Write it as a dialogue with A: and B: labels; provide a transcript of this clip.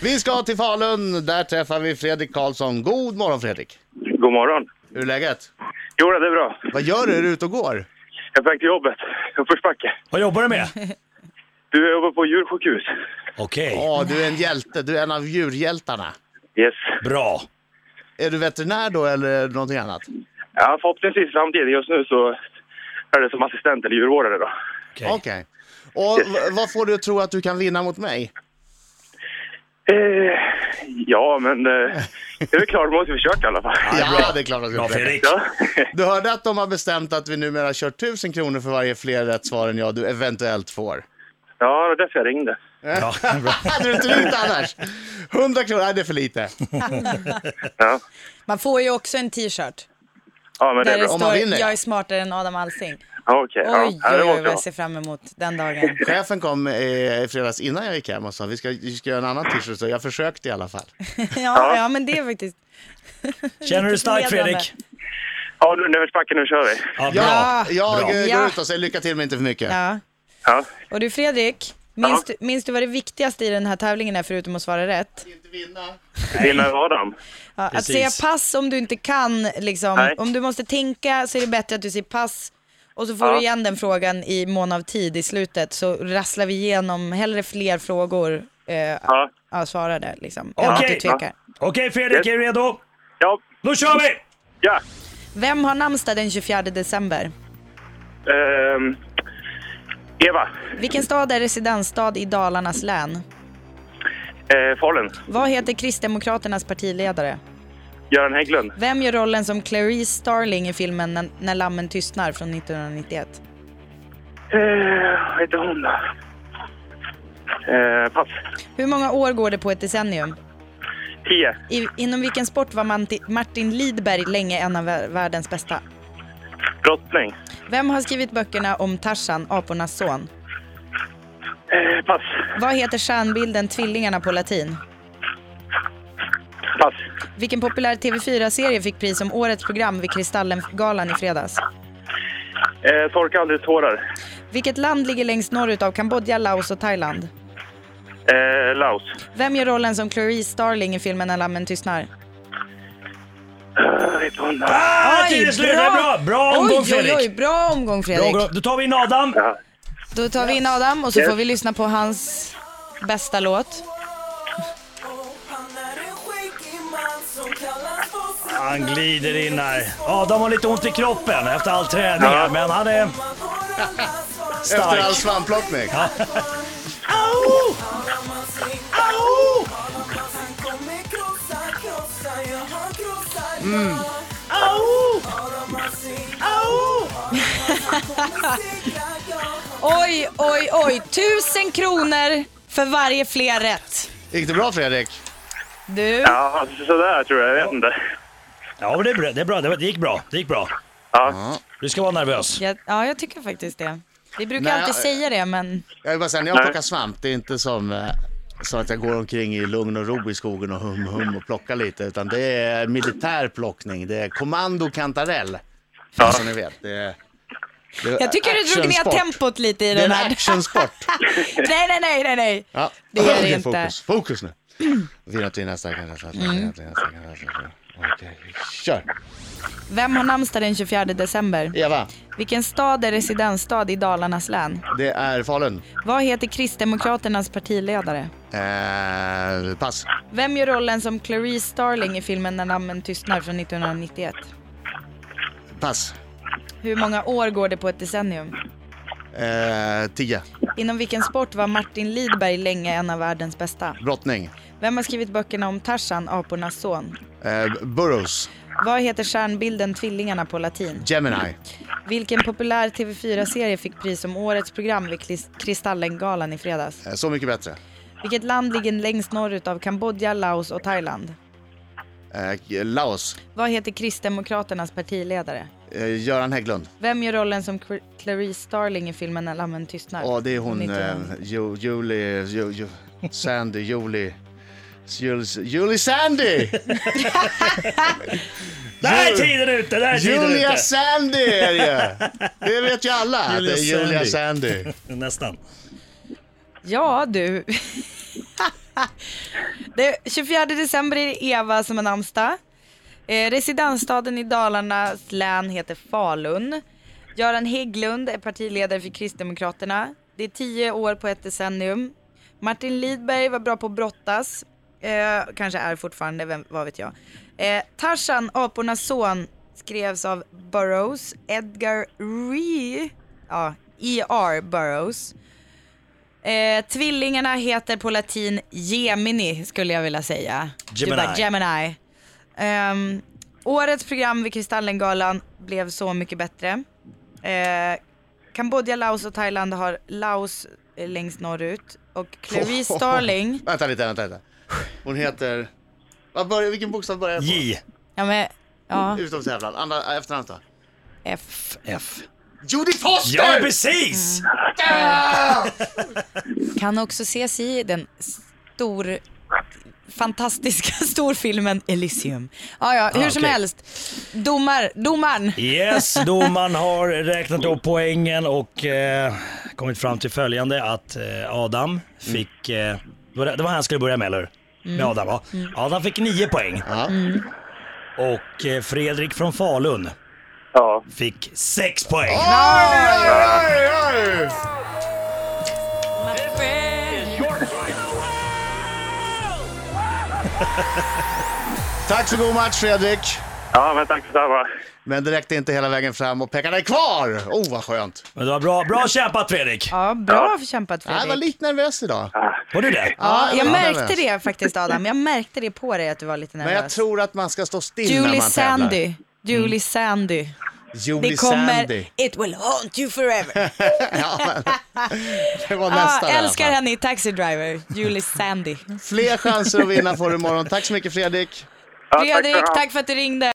A: Vi ska till Falun. Där träffar vi Fredrik Karlsson. God morgon Fredrik!
B: God morgon.
A: Hur är läget?
B: Jo, det är bra.
A: Vad gör du? Är du ute och går?
B: Jag är på väg till jobbet. Uppförsbacke.
C: Vad jobbar du med?
B: Du, jag jobbar på djursjukhus.
C: Okej,
A: Ja, du är en hjälte. Du är en av djurhjältarna.
B: Yes.
C: bra.
A: Är du veterinär då eller är det någonting annat?
B: Ja, förhoppningsvis samtidigt. Just nu så är det som assistent eller djurvårdare då.
C: Okej.
A: Okej. Och v- vad får du att tro att du kan vinna mot mig?
B: Eh, ja, men eh, det är väl klart, man måste försöka i alla fall.
C: Ja,
A: Ja,
C: bra.
A: det är klart att du
C: Bra
A: kan.
C: Fredrik.
B: Ja.
A: Du hörde att de har bestämt att vi numera kör 1000 kronor för varje fler rätt svar än jag du eventuellt får.
B: ja, det var därför jag ringde.
C: Ja, bra.
A: Hade du inte ringt annars? 100 kronor, nej det är för lite.
B: Ja,
D: Man får ju också en t-shirt.
B: ja men det
D: Där
B: är
D: det
B: bra.
A: Om man
D: står
A: vinner, ja.
D: jag är smartare än Adam Alsing.
B: Ja, Okej,
D: Oj, oj,
B: ja. ja, det
D: oj,
B: måste
D: vad
B: jag.
D: jag ser fram emot den dagen.
A: Chefen kom eh, i fredags innan jag gick hem och sa vi ska, vi ska göra en annan t-shirt, så jag försökte i alla fall.
D: Ja, ja men det är faktiskt...
C: Känner du dig stark
D: förnedrande.
C: Fredrik?
B: Ja, nu nerförsbacke, nu kör vi.
C: Ja, bra.
A: Ja, jag
C: bra.
A: eh, går
D: Ja.
A: ut och säger lycka till men inte för mycket.
D: Ja.
B: Ja.
D: Och du Fredrik, minns,
B: Ja.
D: du, minns du vad det viktigaste i den här tävlingen är förutom att svara rätt?
A: Inte vinna.
B: Vinna över Adam.
D: Ja, att
C: Precis.
D: säga pass om du inte kan, liksom,
B: Nej.
D: om du måste tänka så är det bättre att du säger pass och så får
B: Ja.
D: du igen den frågan i mån av tid i slutet så rasslar vi igenom hellre fler frågor eh, ja.
B: Ja,
D: svarade liksom, än att du
C: Okej.
D: tvekar.
C: Okej Fredrik, är du redo?
B: ja.
C: Då kör vi!
B: ja.
D: Vem har namnsdag den 24 december?
B: Ehm, Eva,
D: Vilken stad är residensstad i Dalarnas län?
B: eh, Falun,
D: Vad heter Kristdemokraternas partiledare?
B: Göran Hägglund,
D: Vem gör rollen som Clarice Starling i filmen När, när lammen tystnar från 1991?
B: Eh, vad heter hon då? Eh, pass.
D: Hur många år går det på ett decennium?
B: 10.
D: I, inom vilken sport var Manti- Martin Lidberg länge en av vä- världens bästa?
B: Brottning.
D: Vem har skrivit böckerna om Tarzan, apornas son?
B: Eh, pass.
D: Vad heter stjärnbilden Tvillingarna på latin?
B: Pass.
D: Vilken populär TV4-serie fick pris som årets program vid Kristallengalan i fredags?
B: Eh, torka aldrig tårar.
D: Vilket land ligger längst norrut av Kambodja, Laos och Thailand?
B: Eh, Laos.
D: Vem gör rollen som Clarice Starling i filmen När lammen tystnar?
B: Eh, vad heter hon då?
C: Ah, tiden är slut. Det är bra. Bra omgång
D: oj,
C: Fredrik.
D: Oj, oj, bra omgång
C: Bra
D: Fredrik.
C: omgång. Då tar vi in Adam.
B: Ja.
D: Då tar vi in Adam och så
B: Yes.
D: får vi lyssna på hans bästa låt.
E: Han är en skäggig man som kallas för sin
C: Han glider in här. Adam har lite ont i kroppen efter all träning här,
B: Ja.
C: men han är
E: man har en ansvar
A: Efter
C: stark.
A: all svampplockning.
C: Au!
E: Talar man sin
C: Au!
E: talar man Han kommer krossa, krossa, ja han krossar ja
C: Au!
E: Talar man sin
C: Au!
E: kommer segra, ja
D: Oj, oj, oj. Tusen kronor för varje fler rätt.
A: Gick det bra Fredrik?
D: Du,
B: Ja, alltså, sådär tror jag. Jag vet inte.
C: Ja, men det är bra. Det, är bra. det var- det gick bra. Det gick bra.
B: Ja.
C: Du ska vara nervös.
D: jag, ja jag tycker faktiskt det. Vi brukar
A: Nej,
D: alltid
A: jag-
D: säga det men
A: Jag vill bara säga, när jag plockar svamp, det är inte som, eh, som att jag går omkring i lugn och ro i skogen och hum hum och plockar lite, utan det är militär plockning. Det är kommando kantarell, som ni vet. Det är, det är
D: jag tycker du drog ner
A: actionsport.
D: tempot lite i
A: Det är
D: den
A: en
D: här.
A: actionsport.
D: Nej, nej, nej, nej, nej.
A: Ja.
D: Det är det
A: Okej,
D: inte. Mm.
A: Fokus, fokus nu. Vinna, vinna, stackarna, stackarna, vinna, vinna, stackarna, stackarna. Okej, kör.
D: Vem har namnsdag den 24 december?
A: Eva,
D: Vilken stad är residensstad i Dalarnas län?
A: det är Falun.
D: Vad heter Kristdemokraternas partiledare?
A: Eh, pass.
D: Vem gör rollen som Clarice Starling i filmen När namnen tystnar från 1991?
A: Pass.
D: Hur många år går det på ett decennium?
A: Eh, tio.
D: Inom vilken sport var Martin Lidberg länge en av världens bästa?
A: Brottning.
D: Vem har skrivit böckerna om Tarzan, apornas son?
A: Eh, Burroughs.
D: Vad heter stjärnbilden Tvillingarna på latin?
A: Gemini.
D: Vilken populär TV4-serie fick pris som årets program vid Kris- Kristallengalan i fredags?
A: Eh, Så mycket bättre.
D: Vilket land ligger längst norrut av Kambodja, Laos och Thailand?
A: Eh, Laos.
D: Vad heter Kristdemokraternas partiledare?
A: Eh, Göran Hägglund.
D: Vem gör rollen som Cl- Clarice Starling i filmen När lammen tystnar?
A: Ja, det är hon.
D: 1900.
A: Eh, Ju- Julie... Ju, ju, Sandy. Julie... Julie, Julie Sandy!
C: Där är tiden ute! Där är tiden
A: Julia
C: ute!
A: Sandy är det ju! Det vet ju alla att det är
C: Julia
A: Julia Sandy.
C: Nästan.
D: Ja du. Det, 24 december är det Eva som har namnsdag. Eh, residensstaden i Dalarnas län heter Falun. Göran Hägglund är partiledare för Kristdemokraterna. Det är tio år på ett decennium. Martin Lidberg var bra på att brottas. Eh, kanske är fortfarande, vem, vad vet jag. Eh, Tarzan, apornas son, skrevs av Burroughs. Edgar Ree, ja, E.R. Burroughs. Eh, tvillingarna heter på latin Gemini skulle jag vilja säga.
C: Gemini.
D: Du bara, Gemini. Ehm, årets program vid Kristallengalan blev så mycket bättre. Eh, Kambodja, Laos och Thailand har Laos eh, längst norrut och Clarice Starling,
A: Vänta lite, vänta lite. Hon heter... Vad börjar, vilken bokstav börjar jag på?
C: J.
D: ja men, ja,
A: Utomstävlan. Andra, efternamn då?
D: F.
C: F.
A: Judy Foster!
C: Ja, precis!
D: Kan också ses i den stor, fantastiska storfilmen Elysium. Ja, ja, hur
A: Ah,
D: som
C: okej.
D: helst. Domar, domaren.
C: Yes, domaren har räknat upp poängen och eh, kommit fram till följande att eh, Adam fick, eh, det var det var han skulle börja med eller hur? Med Adam va? Adam fick nio poäng.
A: Ja.
C: Och eh, Fredrik från Falun
B: Ja.
C: fick sex poäng.
A: Tack för god match Fredrik.
B: Ja, men tack detsamma.
A: Men det räckte inte hela vägen fram och pengarna är kvar! Oh vad skönt!
C: Men det var bra, bra kämpat Fredrik!
D: Ja, bra kämpat
A: Jag var
D: Fredrik.
A: lite nervös idag.
C: Var du det?
D: Ja, jag
A: var
D: märkte
A: nervös.
D: det faktiskt Adam. Jag märkte det på dig att du var lite nervös.
A: Men jag tror att man ska stå still när
D: Julie
A: man tävlar. Mm.
D: Sandy. Julie Sandy.
A: Julie
D: Det kommer...
A: Sandy.
D: It will haunt you forever.
A: Ja, men, det var
D: ah,
A: nästa. i alla
D: älskar
A: fall.
D: henne i Taxi Driver. Julie Sandy.
A: Fler chanser att vinna får du imorgon. Tack så mycket Fredrik.
B: Ja, tack ska du
D: Fredrik,
B: ha.
D: tack för att du ringde.